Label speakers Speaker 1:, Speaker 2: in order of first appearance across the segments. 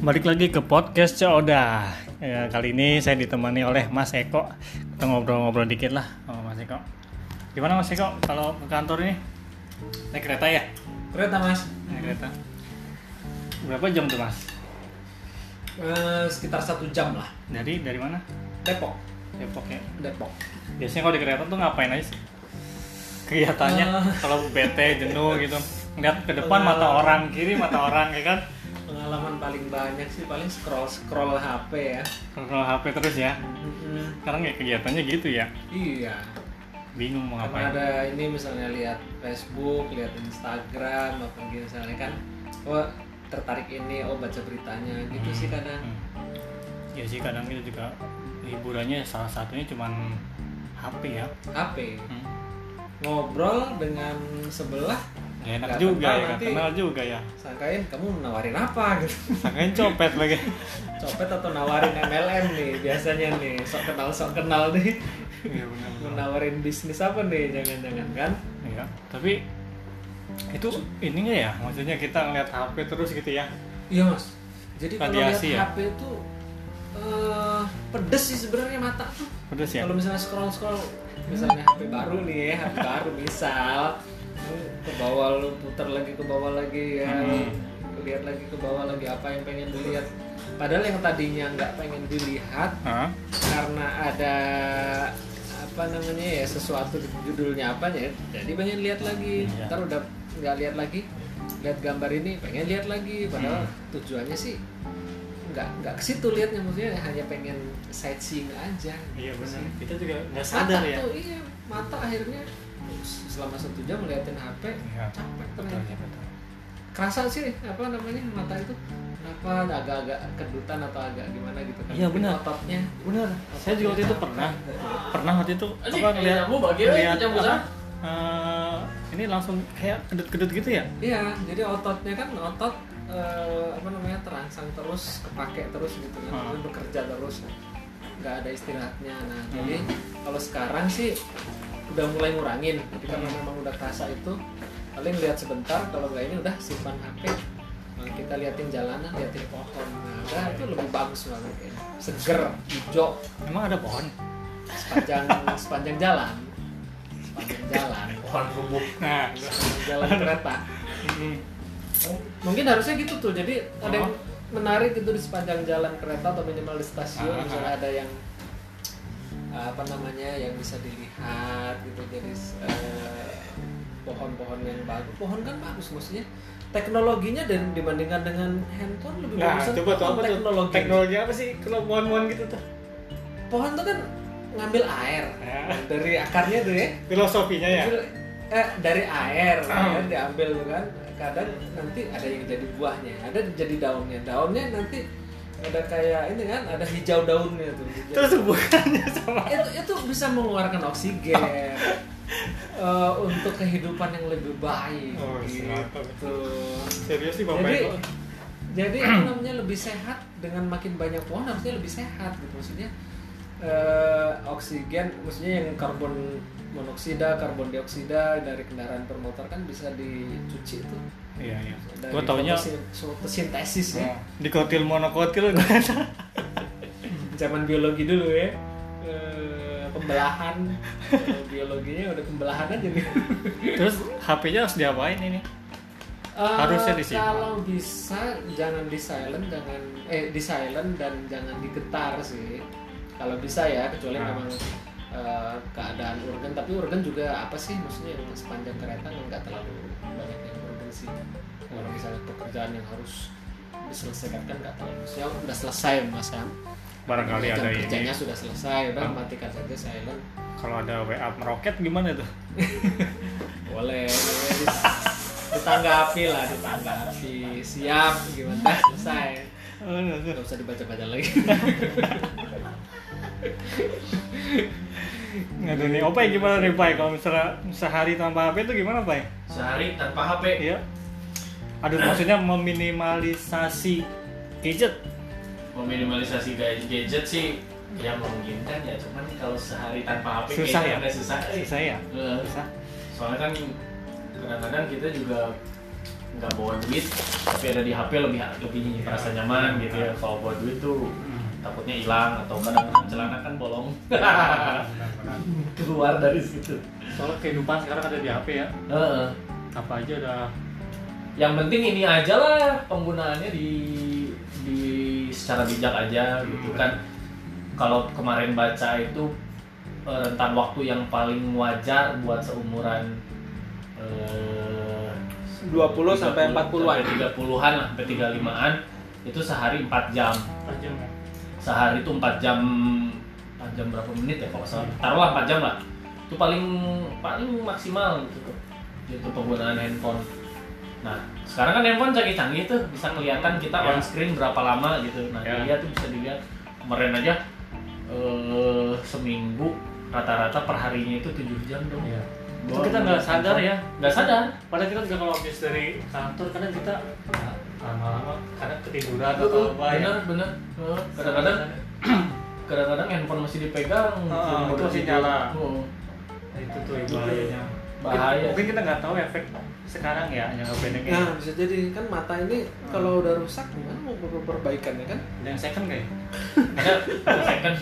Speaker 1: balik lagi ke podcast Coda. Ya, kali ini saya ditemani oleh Mas Eko. Kita ngobrol-ngobrol dikit lah sama Mas Eko. Gimana Mas Eko kalau ke kantor ini? Naik kereta ya?
Speaker 2: Kereta mas
Speaker 1: Naik kereta. Berapa jam tuh Mas?
Speaker 2: Eh, Sekitar satu jam lah
Speaker 1: Dari dari mana?
Speaker 2: Depok
Speaker 1: Depok ya.
Speaker 2: Depok
Speaker 1: Biasanya kalau di kereta tuh ngapain aja sih? Kegiatannya
Speaker 2: Eh.
Speaker 1: kalau bete, jenuh gitu. Ngeliat ke depan mata
Speaker 2: Pengalaman.
Speaker 1: orang kiri, mata orang ya kan?
Speaker 2: Pengalaman paling banyak sih Paling scroll-scroll HP ya
Speaker 1: Kalau HP terus ya. Sekarang ya kegiatannya gitu ya.
Speaker 2: Iya
Speaker 1: Bingung mau
Speaker 2: Karena
Speaker 1: ngapain.
Speaker 2: ada ini misalnya lihat Facebook Lihat Instagram Apalagi misalnya kan Oh tertarik ini Oh baca beritanya gitu sih kadang
Speaker 1: Hmm. Ya sih kadang kita juga hiburannya salah satunya cuman HP ya.
Speaker 2: HP
Speaker 1: Hmm.
Speaker 2: Ngobrol dengan sebelah
Speaker 1: Gak enak
Speaker 2: Nggak
Speaker 1: juga
Speaker 2: kenal
Speaker 1: ya, nggak
Speaker 2: nanti.
Speaker 1: kenal juga ya.
Speaker 2: Sangkain kamu nawarin apa gitu
Speaker 1: Sangkain copet lagi.
Speaker 2: Copet atau nawarin MLM nih Biasanya nih Sok kenal sok kenal nih
Speaker 1: Iya benar.
Speaker 2: menawarin bisnis apa nih jangan-jangan kan
Speaker 1: Iya, tapi itu ini nggak ya? Maksudnya kita ngeliat HP terus gitu ya?
Speaker 2: iya mas jadi kalau lihat
Speaker 1: Radiasi ya?
Speaker 2: HP itu eh, pedes sih sebenarnya mata tuh
Speaker 1: Terus ya?
Speaker 2: kalau misalnya scroll scroll misalnya HP baru nih HP baru misal lu ke bawah lu putar lagi ke bawah lagi ya
Speaker 1: Hmm.
Speaker 2: lu lihat lagi ke bawah lagi apa yang pengen dilihat padahal yang tadinya nggak pengen dilihat
Speaker 1: Hah?
Speaker 2: karena ada apa namanya ya sesuatu di judulnya apa ya jadi pengen lihat lagi
Speaker 1: Iya.
Speaker 2: ntar udah nggak lihat lagi lihat gambar ini pengen lihat lagi padahal
Speaker 1: Hmm.
Speaker 2: tujuannya sih nggak nggak ke situ lihatnya maksudnya hanya pengen sightseeing aja
Speaker 1: Iya
Speaker 2: gitu
Speaker 1: benar.
Speaker 2: sih.
Speaker 1: Kita juga nggak
Speaker 2: mata
Speaker 1: sadar ya.
Speaker 2: tuh iya mata akhirnya selama satu jam ngeliatin HP
Speaker 1: Iya.
Speaker 2: capek
Speaker 1: Betul
Speaker 2: ternyata
Speaker 1: ya betul.
Speaker 2: kerasa sih apa namanya mata itu kenapa agak-agak kedutan atau agak gimana gitu kan
Speaker 1: Iya, benar.
Speaker 2: ototnya
Speaker 1: Benar. Saya juga waktu itu pernah pernah waktu itu
Speaker 2: Anjing,
Speaker 1: apa ngeliat
Speaker 2: nyamuk bagian
Speaker 1: ngeliat
Speaker 2: itu nyamuk
Speaker 1: apa,
Speaker 2: sana.
Speaker 1: eh, ini langsung kayak kedut-kedut gitu ya?
Speaker 2: Iya, jadi ototnya kan otot eh, apa namanya terangsang terus, kepake terus gitu kan,
Speaker 1: Hmm.
Speaker 2: Jadi bekerja terus, nggak ada istirahatnya. Nah, jadi kalau sekarang sih udah mulai ngurangin, jadi karena
Speaker 1: Hmm.
Speaker 2: memang udah kerasa itu, paling lihat sebentar, kalau nggak ini udah simpan HP, Nah, kita liatin jalanan, liatin pohon, nah, udah itu lebih bagus banget ya. seger, hijau,
Speaker 1: Emang ada pohon?
Speaker 2: sepanjang sepanjang jalan, sepanjang jalan,
Speaker 1: Pohon rubuh. Nah,
Speaker 2: sepanjang jalan kereta.
Speaker 1: ini
Speaker 2: mungkin harusnya gitu tuh jadi
Speaker 1: Oh.
Speaker 2: ada yang menarik itu di sepanjang jalan kereta atau minimal di stasiun
Speaker 1: Ah.
Speaker 2: misalnya ada yang eh, apa namanya yang bisa dilihat gitu jadi eh, pohon-pohon yang bagus pohon kan bagus maksudnya teknologinya dan dibandingkan dengan handphone lebih
Speaker 1: Nah,
Speaker 2: bagus kan
Speaker 1: coba tuh apa tuh?
Speaker 2: teknologi
Speaker 1: Teknologi apa sih kalau pohon-pohon gitu tuh?
Speaker 2: pohon tuh kan ngambil air
Speaker 1: Ya.
Speaker 2: dari akarnya tuh ya
Speaker 1: Filosofinya ya. Ah.
Speaker 2: Jadi, eh, dari air ya, diambil kan kadang nanti ada yang jadi buahnya ada jadi daunnya daunnya nanti ada kayak ini kan ada hijau daunnya tuh Hijau.
Speaker 1: Terus hubungannya sama
Speaker 2: itu itu bisa mengeluarkan oksigen eh, untuk kehidupan yang lebih baik
Speaker 1: Oh, silakan.
Speaker 2: gitu
Speaker 1: serius sih Bapak
Speaker 2: jadi
Speaker 1: Eko.
Speaker 2: jadi apa namanya lebih sehat dengan makin banyak pohon harusnya lebih sehat gitu maksudnya eh, oksigen maksudnya yang karbon monoksida karbon dioksida dari kendaraan bermotor kan bisa dicuci tuh
Speaker 1: Iya, iya.
Speaker 2: dari
Speaker 1: Gua taunya
Speaker 2: fotosin- fotosintesis ya
Speaker 1: Nah, di kotil monokotil gua
Speaker 2: zaman biologi dulu ya Eh, pembelahan Eh, biologinya udah pembelahan aja nih
Speaker 1: Terus HP-nya harus diapain ini?
Speaker 2: Eh,
Speaker 1: Harusnya disimpan.
Speaker 2: kalau bisa jangan di silent jangan eh di silent dan jangan digetar sih kalau bisa ya kecuali
Speaker 1: Nah.
Speaker 2: memang eh, keadaan urgen tapi urgen juga apa sih maksudnya yang sepanjang kereta kan nggak terlalu banyak yang urgen sih
Speaker 1: Nah.
Speaker 2: kalau misalnya pekerjaan yang harus diselesaikan kan nggak terlalu ya udah selesai mas Sam
Speaker 1: Barangkali
Speaker 2: jam
Speaker 1: ada
Speaker 2: kerjanya
Speaker 1: ini.
Speaker 2: sudah selesai udah
Speaker 1: Hah?
Speaker 2: matikan saja silent
Speaker 1: Kalau ada WA meroket gimana tuh?
Speaker 2: boleh boleh dis- ditanggapi lah ditanggapi siap gimana selesai
Speaker 1: Oh,
Speaker 2: nggak usah dibaca-baca lagi
Speaker 1: Nggak tahu nih. Opai gimana nih, Pai? Kalau misalnya sehari tanpa HP itu gimana, Pai?
Speaker 3: sehari tanpa HP
Speaker 1: Iya. Aduh, maksudnya meminimalisasi gadget.
Speaker 3: meminimalisasi gadget, gadget sih ya memungkinkan ya cuman kalau sehari tanpa HP
Speaker 1: Susah ya?
Speaker 3: kayaknya agak susah Eh,
Speaker 1: Saya ya.
Speaker 3: eh,
Speaker 1: Susah.
Speaker 3: soalnya kan kadang-kadang kita juga nggak bawa duit tapi ada di HP lebih lebih merasa nyaman gitu ya kalau bawa duit tuh takutnya hilang atau kadang celana kan bolong keluar dari situ
Speaker 1: Soalnya kehidupan sekarang ada di HP ya.
Speaker 3: Heeh.
Speaker 1: Apa aja udah
Speaker 3: yang penting ini aja lah penggunaannya di di secara bijak aja gitu kan kalau kemarin baca itu eh, rentan waktu yang paling wajar buat seumuran eh,
Speaker 2: 20 sampai 40-an.
Speaker 3: sampai 30-an lah sampai 35-an itu sehari 4 jam
Speaker 1: tajam ya.
Speaker 3: sehari itu 4 jam 4 jam berapa menit ya kalau nggak salah taruhlah 4 jam lah itu paling paling maksimal gitu itu penggunaan handphone nah sekarang kan handphone canggih-canggih tuh bisa kelihatan kita
Speaker 1: Ya.
Speaker 3: on screen berapa lama gitu nah
Speaker 1: Ya.
Speaker 3: dilihat tuh bisa dilihat kemarin aja eh, seminggu rata-rata perharinya itu 7 jam dong
Speaker 1: Iya. Itu
Speaker 3: Bawa
Speaker 1: kita nggak
Speaker 3: handphone.
Speaker 1: sadar ya.
Speaker 3: nggak sadar
Speaker 1: Padahal kita juga kalau habis dari kantor kadang kita ah, lama-lama kadang ketiduran atau apa ya.
Speaker 3: bener bener Eh, kadang-kadang kadang-kadang handphone masih dipegang
Speaker 1: Ah,
Speaker 3: belum
Speaker 1: itu masih
Speaker 3: berhenti.
Speaker 1: nyala.
Speaker 3: Oh.
Speaker 1: Nah, itu tuh yang bahayanya.
Speaker 3: Bahaya.
Speaker 1: Mungkin kita nggak tahu efek sekarang ya jangka pendeknya.
Speaker 2: Nah, bisa jadi kan mata ini kalau udah rusak gimana mau per- perbaikannya kan?
Speaker 1: Ada yang second kayak.
Speaker 3: Ada second.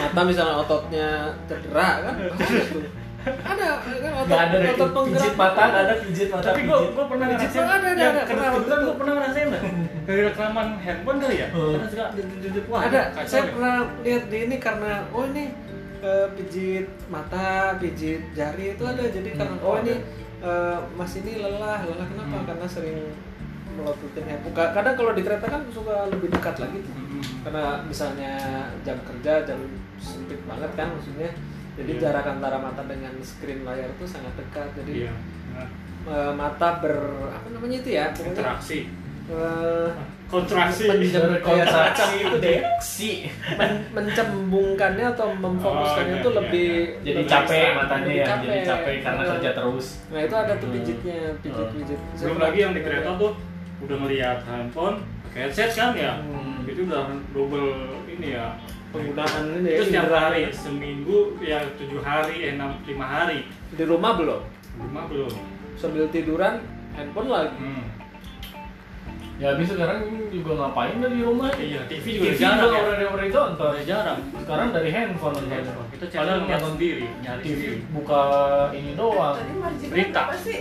Speaker 2: Mata misalnya ototnya cedera kan? Gitu. ada kan otot,
Speaker 3: Gak ada deh.
Speaker 2: otot penggerak.
Speaker 3: pijit mata, ada pijit mata.
Speaker 1: Tapi gua gua pernah
Speaker 2: Pijit
Speaker 1: ngerasain.
Speaker 2: ada, ada,
Speaker 1: ya,
Speaker 2: ada. Pernah waktu
Speaker 1: Kebetulan
Speaker 2: itu.
Speaker 1: gua pernah ngerasain lah. Dari rekaman handphone kali ya.
Speaker 3: Hmm.
Speaker 1: Karena juga duduk-duduk wah.
Speaker 2: ada.
Speaker 1: kacau
Speaker 2: Saya
Speaker 1: deh.
Speaker 2: pernah lihat di ini karena oh ini eh, pijit mata, pijit jari itu ada. Jadi karena
Speaker 3: Hmm,
Speaker 2: oh
Speaker 3: ada.
Speaker 2: ini eh, mas ini lelah, lelah kenapa?
Speaker 1: Hmm.
Speaker 2: Karena sering melototin handphone. Ka- Kadang kalau di kereta kan suka lebih dekat lagi
Speaker 1: Hmm.
Speaker 2: tuh.
Speaker 1: Mm-mm.
Speaker 2: karena misalnya jam kerja jam sempit banget kan maksudnya jadi
Speaker 1: Iya.
Speaker 2: jarak antara mata dengan screen layar itu sangat dekat jadi
Speaker 1: Iya. Nah,
Speaker 2: eh, mata ber apa namanya itu ya pokoknya
Speaker 1: Interaksi.
Speaker 2: eh,
Speaker 1: Kontraksi.
Speaker 2: Penjam- kayak semacam
Speaker 1: gitu
Speaker 2: itu
Speaker 1: ya.
Speaker 2: deh
Speaker 3: Si.
Speaker 2: men- mencembungkannya atau memfokuskannya
Speaker 1: Oh, iya,
Speaker 2: itu
Speaker 1: iya,
Speaker 2: lebih
Speaker 1: iya.
Speaker 3: Jadi
Speaker 2: lebih-
Speaker 3: capek matanya ya,
Speaker 2: Capek.
Speaker 3: jadi capek karena kerja terus.
Speaker 2: nah itu ada tuh
Speaker 3: Hmm.
Speaker 2: pijitnya pijit pijit
Speaker 1: Belum lagi yang di kereta tuh udah ngelihat handphone, pakai headset kan ya.
Speaker 2: Hmm.
Speaker 1: Itu udah double ini ya.
Speaker 2: penggunaan ini
Speaker 1: Itu setiap
Speaker 2: ya, indera.
Speaker 1: hari, seminggu ya tujuh hari, eh enam lima hari.
Speaker 2: di rumah belum
Speaker 1: Rumah belum.
Speaker 2: sambil tiduran handphone lagi
Speaker 1: Hmm.
Speaker 3: Ya habis sekarang juga ngapain dari rumah?
Speaker 1: Iya, TV juga
Speaker 3: TV
Speaker 1: jarang
Speaker 3: juga
Speaker 1: ya.
Speaker 3: udah dari nonton.
Speaker 1: Udah jarang.
Speaker 3: Sekarang dari handphone
Speaker 1: Handphone.
Speaker 3: nonton.
Speaker 1: Kita cari
Speaker 3: Padahal
Speaker 1: lihat
Speaker 3: nonton
Speaker 1: sendiri, nyari
Speaker 3: TV
Speaker 1: sendiri.
Speaker 3: buka ini doang.
Speaker 4: Tadi marginnya
Speaker 1: Berita.
Speaker 4: berapa sih?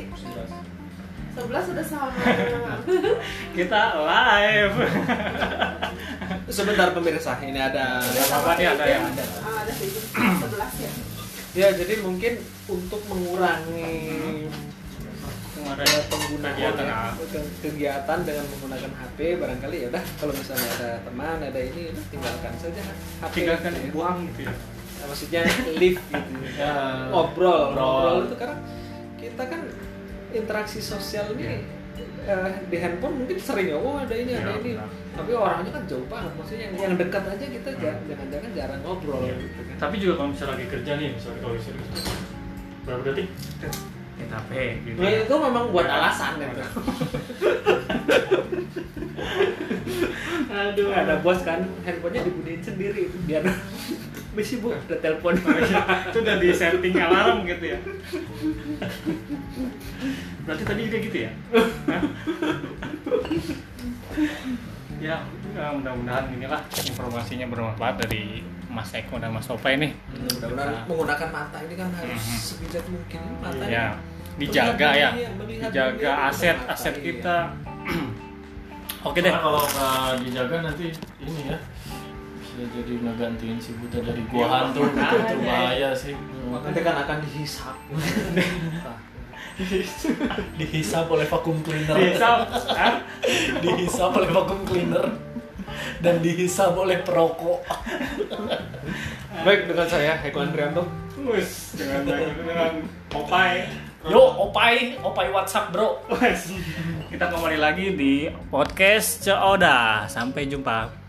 Speaker 4: 11 udah sama.
Speaker 1: Kita live.
Speaker 2: sebentar pemirsa ini ada
Speaker 4: Udah sama
Speaker 1: apa-apa nih, ada
Speaker 4: Vision.
Speaker 1: yang
Speaker 2: ada.
Speaker 4: Ah, ada Vision 11 ya.
Speaker 2: Ya, jadi mungkin untuk mengurangi
Speaker 1: Kemarin
Speaker 2: eh, penggunaan
Speaker 1: kegiatan
Speaker 2: ya,
Speaker 1: apa?
Speaker 2: ke- kegiatan dengan menggunakan HP barangkali ya udah kalau misalnya ada teman ada ini udah tinggalkan saja HP
Speaker 1: tinggalkan
Speaker 2: gitu ya.
Speaker 1: buang gitu ya.
Speaker 2: Nah, maksudnya leave gitu
Speaker 3: Ya,
Speaker 1: Ah.
Speaker 2: ngobrol ngobrol itu karena kita kan interaksi sosial ini eh, di handphone mungkin sering ya oh ada ini ada
Speaker 1: Iya,
Speaker 2: ini
Speaker 1: benar.
Speaker 2: tapi orangnya kan jauh banget maksudnya yang, yang dekat aja kita ja- jangan-jangan jarang ngobrol
Speaker 1: Iya.
Speaker 2: gitu kan
Speaker 1: Tapi juga kalau misalnya lagi kerja nih, misalnya kalau lagi serius. Berapa detik? Oh, iya,
Speaker 3: Kita HP gitu.
Speaker 2: Nah, itu memang buat alasan gitu.
Speaker 1: Aduh,
Speaker 2: ada bos kan handphonenya dibudiin sendiri biar misi bu ada
Speaker 1: Oh,
Speaker 2: telepon
Speaker 1: iya. itu udah di setting alarm gitu ya. Berarti tadi juga gitu ya? Hah? ya, ya, mudah-mudahan inilah informasinya bermanfaat dari Mas Eko dan Mas Opa ini.
Speaker 2: mudah-mudahan menggunakan mata ini kan harus
Speaker 1: Mhm.
Speaker 2: sebijak mungkin Ini mata
Speaker 1: Ya,
Speaker 2: ini
Speaker 1: dijaga
Speaker 2: melihat
Speaker 1: ya,
Speaker 2: dunia, melihat
Speaker 1: dijaga
Speaker 2: dunia
Speaker 1: aset
Speaker 2: dengan mata,
Speaker 1: aset
Speaker 2: iya.
Speaker 1: kita. Oke
Speaker 3: Oke
Speaker 1: deh.
Speaker 3: Kalau nggak dijaga nanti ini ya bisa jadi ngegantiin si buta dari
Speaker 1: Iya,
Speaker 3: gua hantu itu, itu
Speaker 1: makanya.
Speaker 3: bahaya sih.
Speaker 2: nanti kan akan dihisap
Speaker 3: dihisap oleh vakum cleaner
Speaker 1: Bisa, ah,
Speaker 3: dihisap oleh vakum cleaner dan dihisap oleh perokok
Speaker 2: baik dengan saya Eko Andrianto
Speaker 1: wes dengan dengan ya. Opai.
Speaker 3: yo opai opai whatsapp bro
Speaker 1: Wes. Kita kembali lagi di podcast Ceoda. Sampai jumpa.